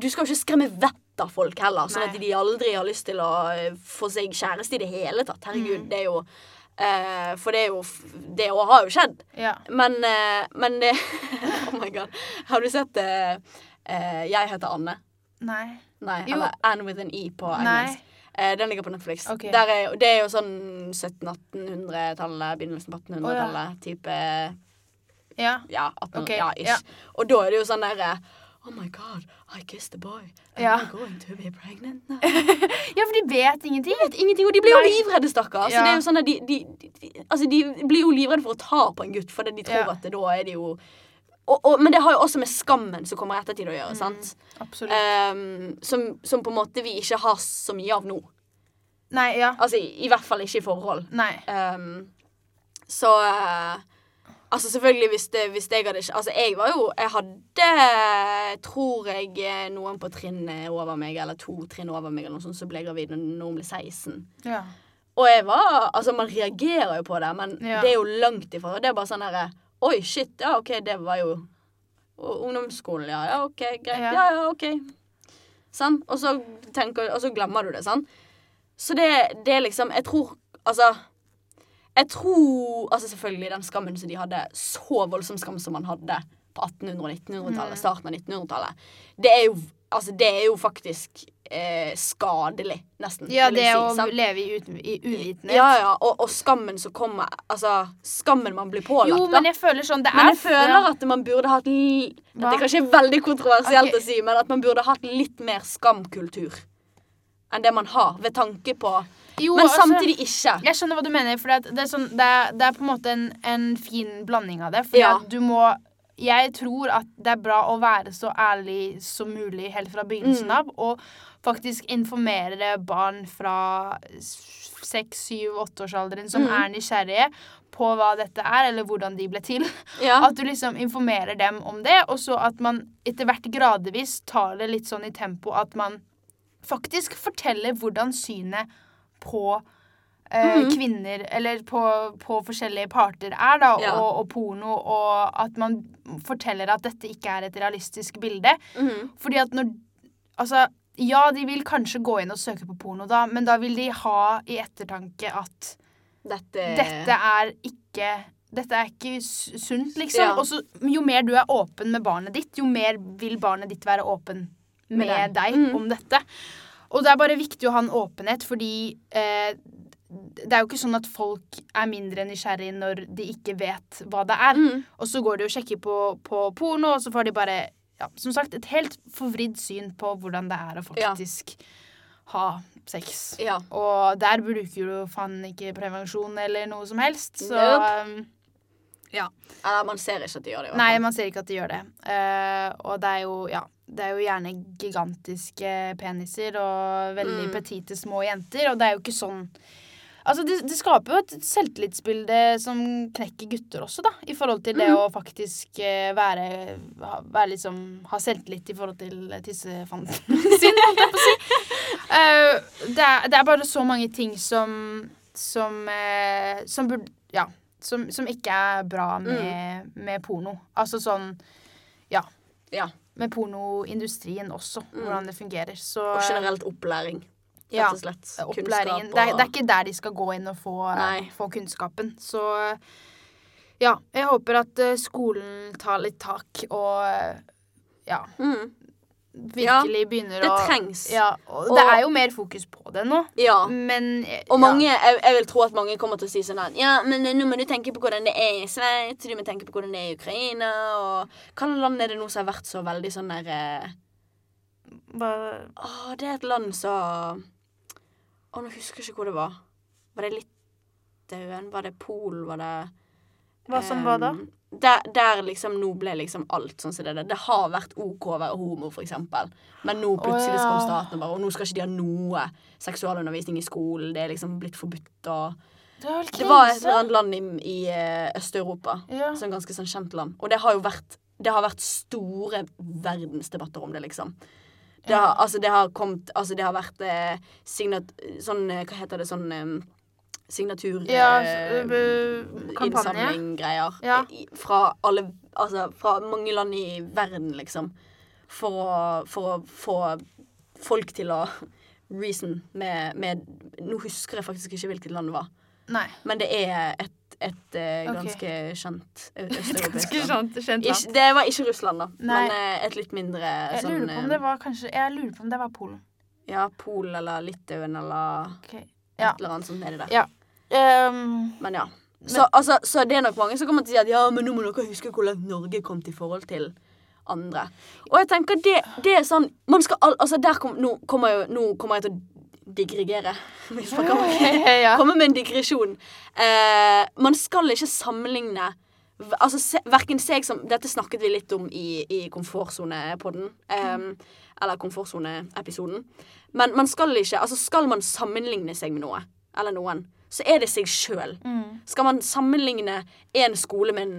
B: Du skal jo ikke skremme vettet av folk heller, sånn
C: Nei.
B: at de aldri har lyst til å eh, få seg kjæreste i det hele tatt. Herregud, det er jo eh, For det er jo f- Det òg har jo skjedd.
C: Ja.
B: Men, eh, men det Oh my god. Har du sett eh, eh, Jeg heter Anne.
C: Nei.
B: Nei,
C: Jo.
B: eller Anne with an E på
C: Nei.
B: engelsk. Eh, den ligger på Netflix.
C: Ok.
B: Der er, jo- det er jo sånn 1700-1800-tallet, begynnelsen på 1800-tallet type
C: Ja.
B: Ja, 18
C: Ok,
B: ja, ish.
C: ja.
B: Og da er det jo sånn derre Oh my god, I kissed a boy. Am
C: Ja.
B: I going to be pregnant now?
C: ja, for de vet ingenting.
B: vet ingenting, og de blir jo
C: Nei.
B: livredde, stakkar. Så
C: Ja.
B: det er jo sånn at de, de, de, de, altså de blir jo livredde for å ta på en gutt, fordi de tror
C: Ja.
B: at det, da er de jo og, og, Men det har jo også med skammen som kommer i ettertid å
C: Mm.
B: gjøre, sant?
C: Absolutt.
B: Ehm, som, som på en måte vi ikke har så mye av nå.
C: Nei, ja.
B: Altså i, i hvert fall ikke i forhold.
C: Nei.
B: Ehm, så eh, Altså selvfølgelig hvis, det, hvis jeg hadde ikke Altså jeg var jo Jeg hadde, tror jeg, eh, noen på trinnet over meg, eller to trinn over meg, eller noe sånt, som ble gravid når hun ble 16.
C: Ja.
B: Og jeg var Altså, man reagerer jo på det, men
C: Ja.
B: det er jo langt ifra. Og det er bare sånn derre Oi, shit. Ja, OK, det var jo o- ungdomsskolen, ja. Ja, OK, greit.
C: Ja.
B: Ja, ja, OK. Sant? Og så tenker Og så glemmer du det, sant? Så det, det er liksom Jeg tror Altså jeg tror altså selvfølgelig den skammen som de hadde, så voldsom skam som man hadde på 1800- og 1900-tallet,
C: Mm.
B: starten av 1900-tallet, det, er jo- altså, det er jo faktisk eh, skadelig, nesten.
C: ja,
B: vil
C: det
B: jeg si,
C: å
B: sant?
C: leve i, uten, i uvitenhet.
B: Ja, ja, og, og skammen som kommer Altså, skammen man blir pålagt,
C: Jo, men jeg føler sånn Det
B: da. Men
C: er
B: jeg føler at man burde hatt li... Dette
C: Hva?
B: er kanskje veldig kontroversielt
C: Ok.
B: å si, men at man burde hatt litt mer skamkultur enn det man har, ved tanke på
C: Jo,
B: Men
C: altså-
B: samtidig ikke.
C: Jeg skjønner hva du mener, for det er, sånn, det er, det er på en måte en, en fin blanding av det. For
B: Ja.
C: du må Jeg tror at det er bra å være så ærlig som mulig helt fra begynnelsen av, og faktisk informere barn fra seks, syv, åtteårsalderen som er nysgjerrige på hva dette er, eller hvordan de ble til.
B: Ja.
C: At du liksom informerer dem om det, og så at man etter hvert gradvis tar det litt sånn i tempo at man faktisk forteller hvordan synet på eh,
B: Mhm.
C: kvinner, eller på, på forskjellige parter er, da,
B: Ja.
C: og, og porno, og at man forteller at dette ikke er et realistisk bilde.
B: Mhm.
C: Fordi at når Altså, ja, de vil kanskje gå inn og søke på porno da, men da vil de ha i ettertanke at
B: Dette,
C: dette er ikke dette er ikke s- sunt, liksom.
B: Ja.
C: Og så, jo mer du er åpen med barnet ditt, jo mer vil barnet ditt være åpen med,
B: Med deg.
C: deg om dette. Og det er bare viktig å ha en åpenhet, fordi eh, det er jo ikke sånn at folk er mindre nysgjerrige når de ikke vet hva det er.
B: Mhm.
C: Og så går de og sjekker på, på porno, og så får de bare ja, som sagt, et helt forvridd syn på hvordan det er å
B: Ja.
C: faktisk ha sex.
B: Ja.
C: Og der bruker du faen ikke prevensjon eller noe som helst. Så
B: Nope.
C: um, ja.
B: Eller man ser ikke at de gjør det. i hvert
C: Nei,
B: fall.
C: man ser ikke at de gjør det. Eh, og det er jo ja, det er jo gjerne gigantiske peniser og veldig
B: Mm.
C: petite små jenter, og det er jo ikke sånn Altså, det, det skaper jo et selvtillitsbilde som knekker gutter også, da. I forhold til det
B: Mm.
C: å faktisk eh, være, ha, være liksom, ha selvtillit i forhold til tissefanten sin, holdt jeg på å si. Eh, det, er, det er bare så mange ting som Som, eh, som burde Ja. Som, som ikke er
B: Mm.
C: bra med, med porno. Altså sånn Ja.
B: Ja.
C: Med pornoindustrien også, hvordan det fungerer. Så
B: Mm. Og generelt opplæring, rett
C: Ja.
B: og slett.
C: opplæringen
B: Kunnskap
C: det er,
B: og-
C: det er ikke der de skal gå inn og få,
B: Nei.
C: få kunnskapen. Så ja, jeg håper at eh, skolen tar litt tak og eh, ja,
B: Mhm.
C: virkelig begynner
B: Det
C: å
B: trengs.
C: Ja, og,
B: Og-
C: det er jo mer fokus på det nå,
B: Ja.
C: men eh, ja.
B: Og mange, jeg, jeg vil tro at mange kommer til å si sånn her Ja, men nå må du tenke på hvordan det er i Sveits, du må tenke på hvordan det er i Ukraina, og Hva land er det nå som har vært så veldig sånn der eh,
C: Hva-
B: Å, det er et land som Å, nå husker jeg ikke hvor det var. Var det Litauen? Var det Polen? Var det
C: Hva som var da?
B: ehm, Der, der liksom nå ble liksom alt sånn som det er. Det har vært OK å være homo, for eksempel. Men nå plutselig så kom
C: ja.
B: staten og bare Og nå skal ikke de ha noe seksualundervisning i skolen. Det er liksom blitt forbudt og
C: Det var,
B: Det var et eller annet land i, i eh, Øst-Europa.
C: Ja.
B: Som ganske sånn kjent land. Og det har jo vært Det har vært store verdensdebatter om det, liksom. Det har, altså, det har kommet Altså, det har vært eh, signat... Sånn eh, Hva heter det? Sånn eh, signatur...
C: Ja,
B: eh,
C: f- eh, kampanje.
B: Innsamlinggreier.
C: Ja.
B: i- Fra alle Altså fra mange land i verden, liksom. For å, for å få folk til å reason med, med Nå husker jeg faktisk ikke hvilket land det var.
C: Nei.
B: Men det er et, et, eh,
C: Ok.
B: ganske kjent ø- østeuropeisk
C: Ganske
B: land.
C: kjent, kjent land.
B: sånn. Ikke, det var ikke Russland, da.
C: Nei.
B: Men eh, et litt mindre
C: Jeg
B: sånn
C: lurer på om
B: eh,
C: det var kanskje Jeg lurer på om det var Polen.
B: Ja, Polen eller Litauen eller
C: Ok.
B: et
C: Ja.
B: eller annet sånt nedi der.
C: Ja. Ehm,
B: Men ja. Så, altså, så det er nok mange som kommer til å si at ja, men nå må dere huske hvor langt Norge kom til forhold til andre. Og jeg tenker det, det er sånn Man skal al Altså, der kom, nå, kommer jo, nå kommer jeg til å digregere. Hvis man kan
C: ja.
B: komme med en digresjon. Eh, man skal ikke sammenligne v- Altså, se, hverken seg som Dette snakket vi litt om i, i komfortsonepodden. Um, eller komfortsoneepisoden. Men man skal ikke Altså, skal man sammenligne seg med noe, eller noen, så er det seg sjøl.
C: Mm.
B: Skal man sammenligne en skole med,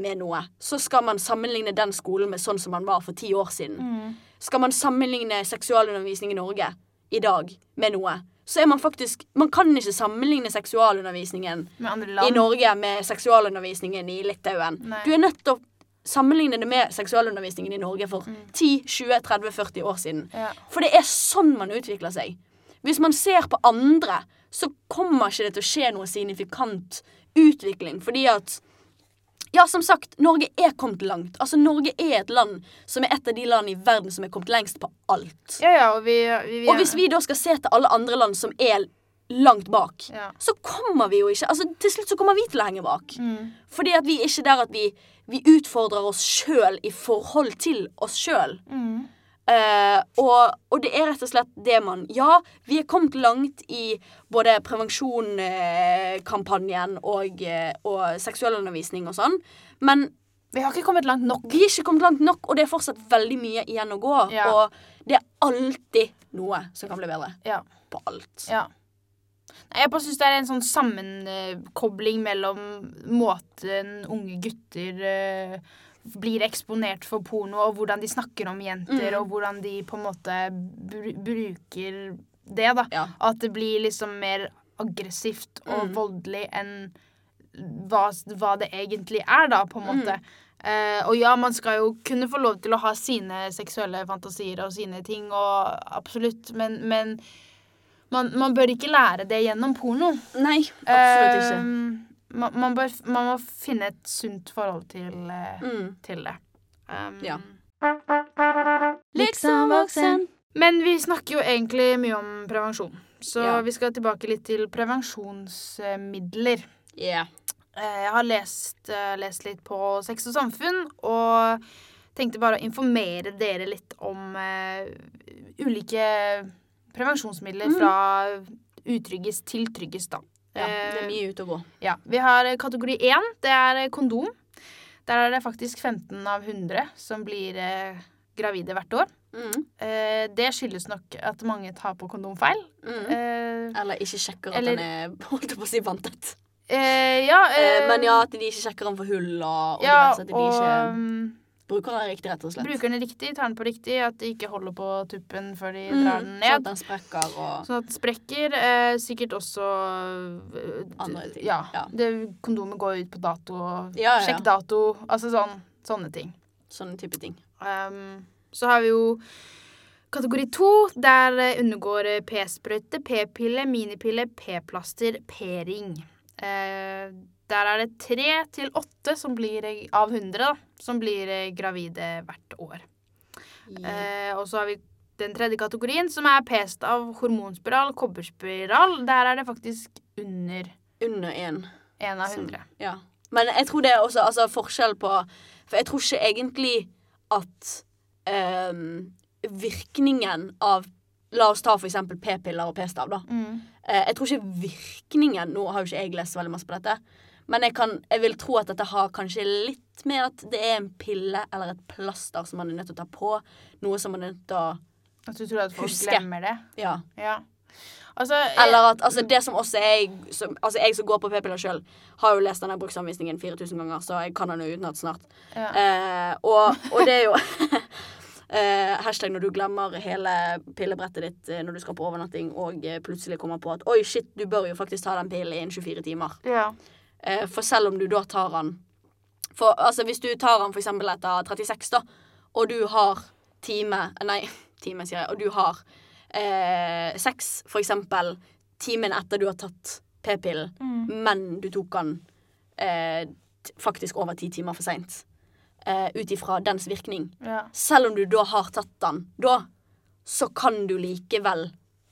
B: med noe, så skal man sammenligne den skolen med sånn som man var for ti år siden.
C: Mm.
B: Skal man sammenligne seksualundervisning i Norge i dag med noe, så er man faktisk Man kan ikke sammenligne seksualundervisningen
C: Med andre
B: i
C: land.
B: Norge med seksualundervisningen i Litauen.
C: Nei.
B: Du er nødt til å sammenligne det med seksualundervisningen i Norge for 10, 20, 30, 40 år siden.
C: Mm. Ja.
B: For det er sånn man utvikler seg. Hvis man ser på andre, så kommer ikke det til å skje noe signifikant utvikling. Fordi at Ja, som sagt, Norge er kommet langt. Altså, Norge er et land som er et av de land i verden som er kommet lengst på alt.
C: ja, ja, og vi, vi,
B: Og hvis vi da skal se til alle andre land som er langt bak,
C: Ja.
B: så kommer vi jo ikke Altså, til slutt så kommer vi til å henge bak.
C: Mm.
B: Fordi at vi er ikke der at vi, vi utfordrer oss sjøl i forhold til oss sjøl.
C: Mm.
B: Eh, og, og det er rett og slett det man Ja, vi er kommet langt i både prevensjonskampanjen og, eh, og seksualundervisning og sånn, men
C: Vi har ikke kommet langt nok.
B: vi er ikke kommet langt nok, og det er fortsatt veldig mye igjen å gå.
C: Ja.
B: Og det er alltid noe som kan bli bedre.
C: Ja.
B: På alt.
C: Ja. Nei, jeg bare syns det er en sånn sammenkobling mellom måten unge gutter eh, blir eksponert for porno, og hvordan de snakker om jenter,
B: Mm.
C: og hvordan de på en måte bru bruker det, da.
B: Ja.
C: At det blir liksom mer aggressivt og
B: Mm.
C: voldelig enn hva, hva det egentlig er, da, på en
B: Mm.
C: måte. Eh, og ja, man skal jo kunne få lov til å ha sine seksuelle fantasier og sine ting, og absolutt, men, men man, man bør ikke lære det gjennom porno.
B: Nei, absolutt ikke.
C: Ehm, man, man, bør, man må finne et sunt forhold til, eh,
B: Mm.
C: til det. Ehm,
B: Ja.
A: Liksom voksen.
C: Men vi snakker jo egentlig mye om prevensjon, så
B: Ja.
C: vi skal tilbake litt til prevensjonsmidler.
B: Yeah.
C: Eh, Jeg har lest, eh, lest litt på Sex og samfunn, og tenkte bare å informere dere litt om eh, ulike prevensjonsmidler
A: Mm.
C: fra utryggest til tryggest, da.
B: Ja, det er
C: Eh,
B: mye ute å gå.
C: ja. Vi har kategori én, det er kondom. Der er det faktisk 15 av 100 som blir eh, gravide hvert år.
B: Mm.
C: Eh, det skyldes nok at mange tar på kondomfeil.
B: Mm.
C: Eh,
B: Eller ikke sjekker at
C: Eller-
B: den er holdt jeg på å si vantet.
C: eh, ja,
B: Eh,
C: eh,
B: Men ja, at de ikke sjekker den for hull, og, og
C: ja,
B: diverse, at de
C: og
B: ikke
C: mm,
B: bruker den riktig, rett og slett.
C: bruker den riktig, tar den på riktig, at de ikke holder på tuppen før de
B: Mm,
C: drar den
B: Sånn at
C: ned.
B: den sprekker og
C: Sånn at den sprekker. Eh, sikkert også eh, d-
B: Andre ting,
C: Ja.
B: ja.
C: Det, kondomet går ut på dato. og
B: Ja, ja, ja.
C: Sjekk dato. Altså sånn, sånne ting.
B: sånne type ting.
C: Ehm, så har vi jo kategori to. Der eh, undergår eh, p-sprøyte, p-pille, minipille, p-plaster, p-ring. Eh, der er det tre til åtte som blir, eh, av 100 da, som blir eh, gravide hvert år. Eh, og så har vi den tredje kategorien, som er p-st av hormonspiral, kobberspiral. Der er det faktisk under
B: Under én.
C: én av
B: Som-
C: 100.
B: Ja. Men jeg tror det er også altså, forskjell på For jeg tror ikke egentlig at ehm, virkningen av La oss ta for eksempel p-piller og p-stav, da.
C: Mm.
B: Eh, jeg tror ikke virkningen Nå har jo ikke jeg lest så veldig masse på dette, men jeg, kan, jeg vil tro at dette har kanskje litt med at det er en pille eller et plaster som man er nødt til å ta på. Noe som man er nødt til å
C: At du tror at folk
B: Huske.
C: glemmer det?
B: Ja.
C: Ja. Altså, eh,
B: Eller at altså, det som også jeg som, Altså, jeg som går på p-piller sjøl, har jo lest denne bruksanvisningen 4000 ganger, så jeg kan den jo utenat snart.
C: ja.
B: Eh, og, og det er jo eh, Hashtag når du glemmer hele pillebrettet ditt eh, når du skal på overnatting, og eh, plutselig kommer på at oi, shit, du bør jo faktisk ta den pillen innen 24 timer.
C: Ja.
B: Eh, for selv om du da tar den For altså, hvis du tar den for eksempel etter 36, da, og du har time eh, Nei, time, sier jeg. Og du har eh, sex, for eksempel, timen etter du har tatt p-pillen,
C: Mm.
B: men du tok den eh, t- faktisk over ti timer for seint. Eh, Ut ifra dens virkning.
C: ja.
B: Selv om du da har tatt den da, så kan du likevel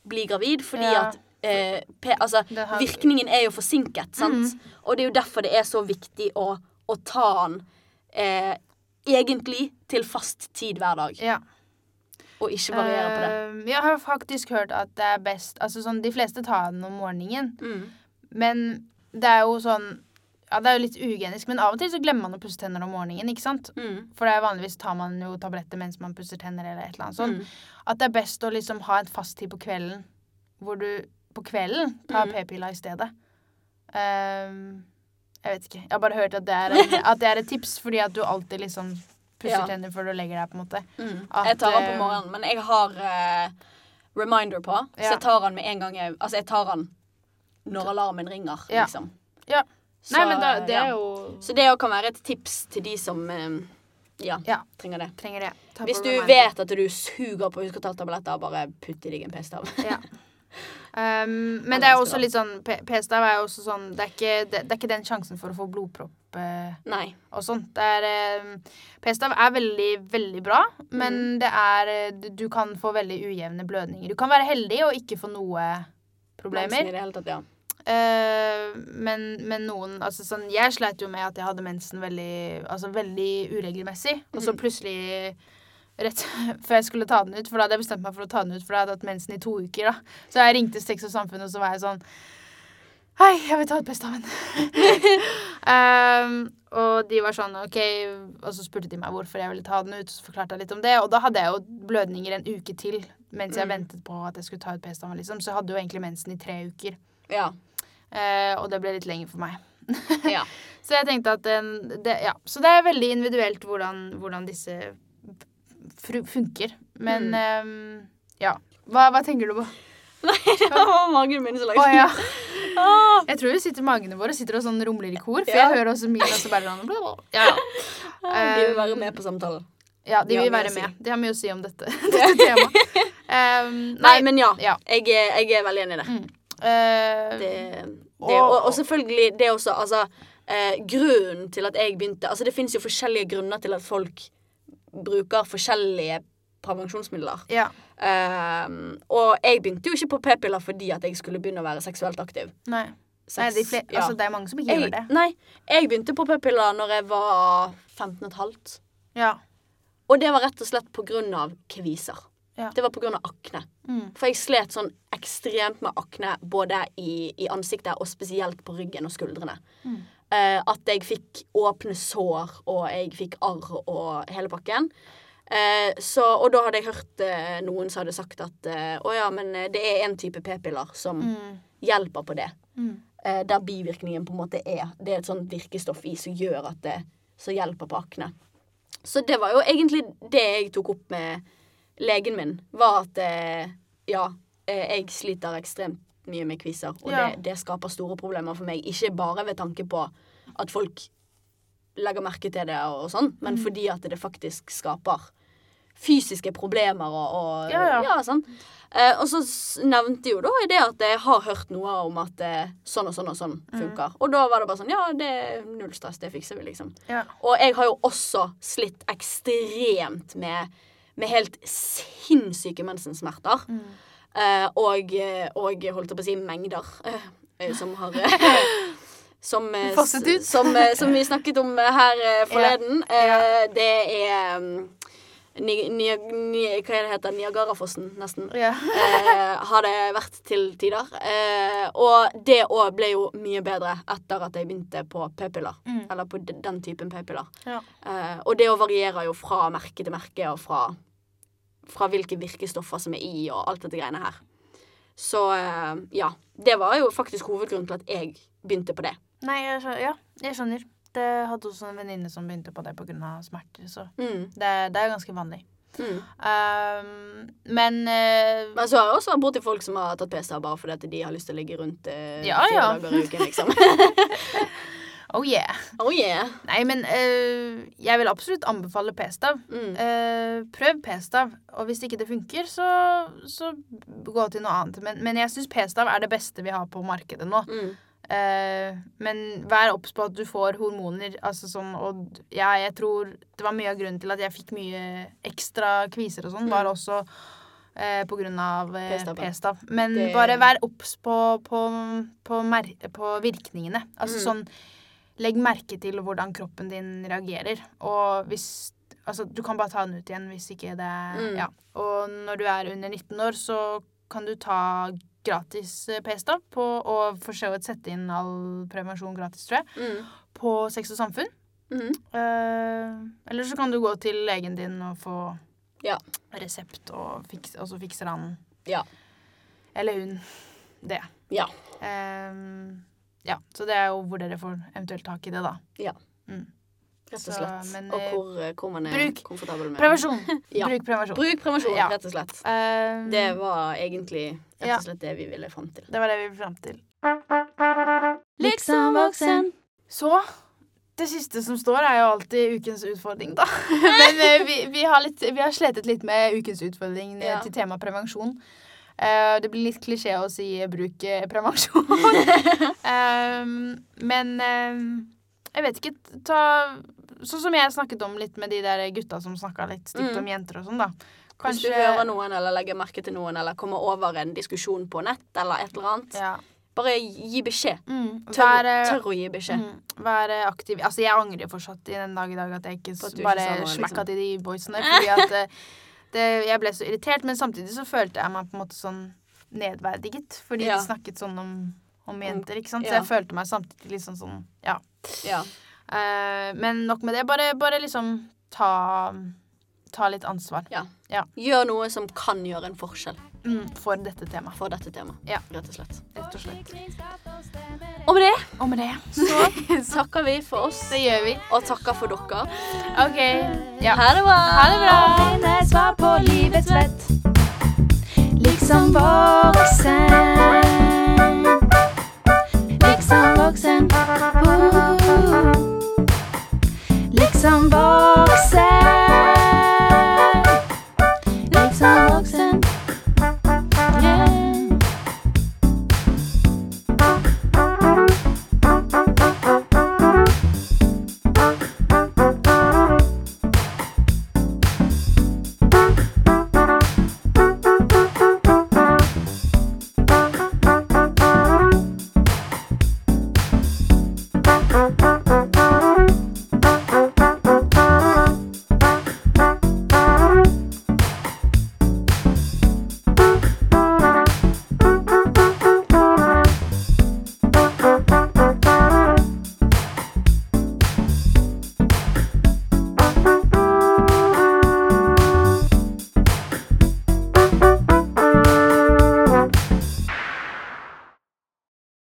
B: bli gravid, fordi
C: Ja.
B: at eh, pe, Altså,
C: Det har- Mhm.
B: virkningen er jo forsinket, sant? Og det er jo derfor det er så viktig å, å ta den eh, egentlig til fast tid hver dag,
C: Ja.
B: og ikke variere på det.
C: Eh, Jeg har faktisk hørt at det er best Altså sånn, de fleste tar den om morgenen.
B: Mm.
C: Men det er jo sånn Ja, det er jo litt ugenisk, men av og til så glemmer man å pusse tenner om morgenen, ikke sant?
B: Mm.
C: For det er vanligvis tar man jo tabletter mens man pusser tenner eller et eller annet sånt.
B: Mm.
C: At det er best å liksom ha en fast tid på kvelden, hvor du på kvelden tar
B: Mm.
C: p-pilla i stedet. Ehm, jeg vet ikke. Jeg har bare hørt at det er, en, at det er et tips, fordi at du alltid liksom pusser
B: Ja.
C: tenner før du legger deg, på en måte.
B: Mm.
C: At,
B: jeg tar den på
C: eh,
B: morgenen, men jeg har eh, reminder på,
C: Ja.
B: så jeg tar den med en gang jeg Altså, jeg tar den når alarmen ringer,
C: Ja.
B: liksom.
C: Ja.
B: Så, eh,
C: Nei, men da, det
B: ja.
C: er jo
B: Så det òg kan være et tips til de som eh, ja,
C: Ja.
B: trenger det.
C: Trenger det. Ta
B: Hvis
C: på
B: du
C: reminder.
B: vet at du suger på huskartalltabletter, bare putt i deg en p-stav.
C: Ja. Um, men
B: Alle
C: det er
B: elsker
C: også
B: det.
C: litt sånn P- P-stav er jo også sånn det er, ikke, det, det er ikke den sjansen for å få blodpropp eh,
B: Nei.
C: og sånt. Det er, um, P-stav er veldig, veldig bra, men det er eh, du- Du kan få veldig ujevne blødninger. Du kan være heldig og ikke få noe
B: mensen
C: problemer.
B: I det hele tatt, ja.
C: Eh, men, men noen altså sånn, Jeg sleit jo med at jeg hadde mensen veldig, altså veldig uregelmessig. Og så plutselig, rett før jeg skulle ta den ut For da hadde jeg bestemt meg for å ta den ut, for da hadde jeg hatt mensen i to uker. da Så jeg ringte Sex og Samfunn, og så var jeg sånn Hei, jeg vil ta ut Bestaven. Ehm, og de var sånn OK Og så spurte de meg hvorfor jeg ville ta den ut, og så forklarte jeg litt om det. Og da hadde jeg jo blødninger en uke til mens jeg ventet på at jeg skulle ta ut P-staven, liksom. Så jeg hadde jo egentlig mensen i tre uker.
B: Ja.
C: Eh, og det ble litt lenger for meg.
B: ja.
C: Så jeg tenkte at den, det, ja. Så det er veldig individuelt hvordan, hvordan disse fru- funker. Men
B: Mm.
C: ehm, ja. Hva, hva tenker du på?
B: Det var magen min som
C: Å
B: lagde
C: ja.
B: Ah!
C: Jeg tror vi sitter magene våre sitter og sånn rumler i kor. For
B: Ja.
C: jeg hører også Mila og Berland bla, bla. Ja, ja.
B: De
C: Eh,
B: vil være med på samtalen.
C: ja, de
B: Ja,
C: vil
B: mye
C: være
B: å si.
C: med. De har mye å si om dette, dette temaet. Ehm,
B: Nei, men ja.
C: ja.
B: Jeg, er- jeg er veldig enig i det.
C: eh,
B: det, det
C: Og-
B: og, og selvfølgelig det også, altså eh, Grunnen til at jeg begynte Altså, det fins jo forskjellige grunner til at folk bruker forskjellige prevensjonsmidler.
C: ja.
B: Ehm, og jeg begynte jo ikke på p-piller fordi at jeg skulle begynne å være seksuelt aktiv.
C: Nei. Nei de fle
B: ja.
C: altså, det er mange som ikke gjør
B: jeg,
C: det.
B: nei, jeg begynte på p-piller når jeg var 15 og et halvt.
C: Ja.
B: Og det var rett og slett på grunn av kviser.
C: Ja.
B: Det var på grunn av akne.
C: Mm.
B: For jeg slet sånn ekstremt med akne både i, i ansiktet og spesielt på ryggen og skuldrene.
C: Mm.
B: Eh, at jeg fikk åpne sår, og jeg fikk arr og hele pakken. Eh, så, og da hadde jeg hørt eh, noen som hadde sagt at eh, å ja, men eh, det er en type p-piller som
C: Mm.
B: hjelper på det.
C: Mm.
B: Eh, der bivirkningen på en måte er. Det er et sånt virkestoff i som gjør at det som hjelper på akne. Så det var jo egentlig det jeg tok opp med legen min, var at eh, ja, eh, jeg sliter ekstremt mye med kviser, og
C: Ja.
B: det, det skaper store problemer for meg. Ikke bare ved tanke på at folk legger merke til det og, og sånn,
C: Mm.
B: men fordi at det faktisk skaper fysiske problemer og, og
C: Ja, ja.
B: sånn. Eh, og så s- nevnte jo da i det at jeg har hørt noe om at eh, sånn og sånn og sånn
C: Mm.
B: funker. Og da var det bare sånn Ja, det er null stress, det fikser vi, liksom.
C: Ja.
B: Og jeg har jo også slitt ekstremt med, med helt sinnssyke mensensmerter.
C: Mm.
B: Eh, og, og holdt jeg på å si mengder eh, som har eh, Som, eh,
C: Fosset ut.
B: s- som, eh, som vi snakket om eh, her eh, forleden. Eh, det er mm, ni, ni, ni, Hva er det heter? Niagarafossen, nesten.
C: Ja.
B: Eh, har det vært til tider. Eh, og det òg ble jo mye bedre etter at jeg begynte på p-piller.
C: Mm.
B: Eller på d- den typen p-piller.
C: Ja.
B: Eh, og det å varierer jo fra merke til merke, og fra, fra hvilke virkestoffer som er i, og alt dette greiene her. Så eh, ja. Det var jo faktisk hovedgrunnen til at jeg begynte på det.
C: Nei, jeg skjønner, ja, jeg skjønner. Det hadde også en venninne som begynte på det pga. smerter, så
B: Mm,
C: det, det er ganske vanlig.
B: mm.
C: Ehm, men eh,
B: Men så har jeg også vært borti folk som har tatt p-stav bare fordi at de har lyst til å ligge rundt eh,
C: Ja,
B: fire
C: ja.
B: dager i uken, liksom.
C: Oh yeah.
B: oh yeah.
C: Nei, men eh, jeg vil absolutt anbefale p-stav.
B: Mm.
C: Eh, prøv p-stav, og hvis ikke det funker, så, så gå til noe annet. Men, men jeg syns p-stav er det beste vi har på markedet nå.
B: Mm.
C: Eh, men vær obs på at du får hormoner. Altså sånn, og d- ja,
B: Mm.
C: jeg tror det var mye av grunnen til at jeg fikk mye ekstra kviser og sånn, var også eh, på grunn av eh,
B: P-staven.
C: p-stav. Men
B: Det-
C: bare vær obs på, på, på, mer på virkningene. Altså
B: Mm.
C: sånn Legg merke til hvordan kroppen din reagerer. Og hvis Altså, du kan bare ta den ut igjen hvis ikke det
B: Mm.
C: Ja. Og når du er under 19 år, så kan du ta gratis eh, p-stav på, og for så vidt sette inn all prevensjon gratis, tror jeg,
B: Mm.
C: på Sex og samfunn.
B: Mhm.
C: Eh, eller så kan du gå til legen din og få
B: Ja.
C: resept, og, fiks, og så fikser han
B: Ja.
C: eller hun det.
B: Ja.
C: Eh, ja. Så det er jo hvor dere får eventuelt tak i det, da.
B: Rett
C: Så,
B: og slett.
C: men,
B: og
C: eh,
B: hvor, eh, hvor man er
C: bruk
B: komfortabel med
C: Prevensjon!
B: Ja.
C: Bruk prevensjon.
B: Bruk prevensjon,
C: Ja.
B: rett og slett.
C: Eh,
B: Det var egentlig rett
C: Ja.
B: og slett det vi ville fram til.
C: det var det vi ble fram til.
A: Liksom voksen.
C: Så det siste som står, er jo alltid ukens utfordring, da. Men eh, vi, vi, har litt, vi har sletet litt med ukens utfordring eh,
B: Ja.
C: til tema prevensjon. Eh, det blir litt klisjé å si eh, 'bruk eh, prevensjon'. Ehm, men eh, jeg vet ikke ta, Sånn som jeg snakket om litt med de der gutta som snakka litt stygt
B: Mm.
C: om jenter og sånn, da.
B: Hvis du hører noen eller legger merke til noen eller kommer over en diskusjon på nett eller et eller annet,
C: ja.
B: bare gi beskjed.
C: mm,
B: Tør,
C: vær, eh,
B: tør å gi beskjed.
C: Mm, Vær eh, aktiv. Altså, jeg angrer fortsatt i den dag i dag at jeg ikke,
B: På at du
C: s-
B: ikke
C: bare
B: sa noe, liksom.
C: smekka til de boysene. Fordi at eh, det, jeg ble så irritert, men samtidig så følte jeg meg på en måte sånn nedverdiget. Fordi
B: Ja.
C: de snakket sånn om, om jenter, ikke sant.
B: ja.
C: Så jeg følte meg samtidig litt sånn sånn, ja.
B: Ja.
C: Eh, men nok med det. Bare, bare liksom ta, ta litt ansvar
B: Gjør noe som kan gjøre en forskjell
C: mm, for dette temaet,
B: for dette temaet.
C: Ja.
B: Rett og slett.
C: rett og slett.
B: Og med det
C: Og med det
B: så takker vi for oss,
C: det gjør vi.
B: og takker for dere.
C: OK. Ja.
B: Ha det bra!
C: Ha det bra.
A: Finne svar på livets vett. Liksom voksen. Liksom voksen. Oh.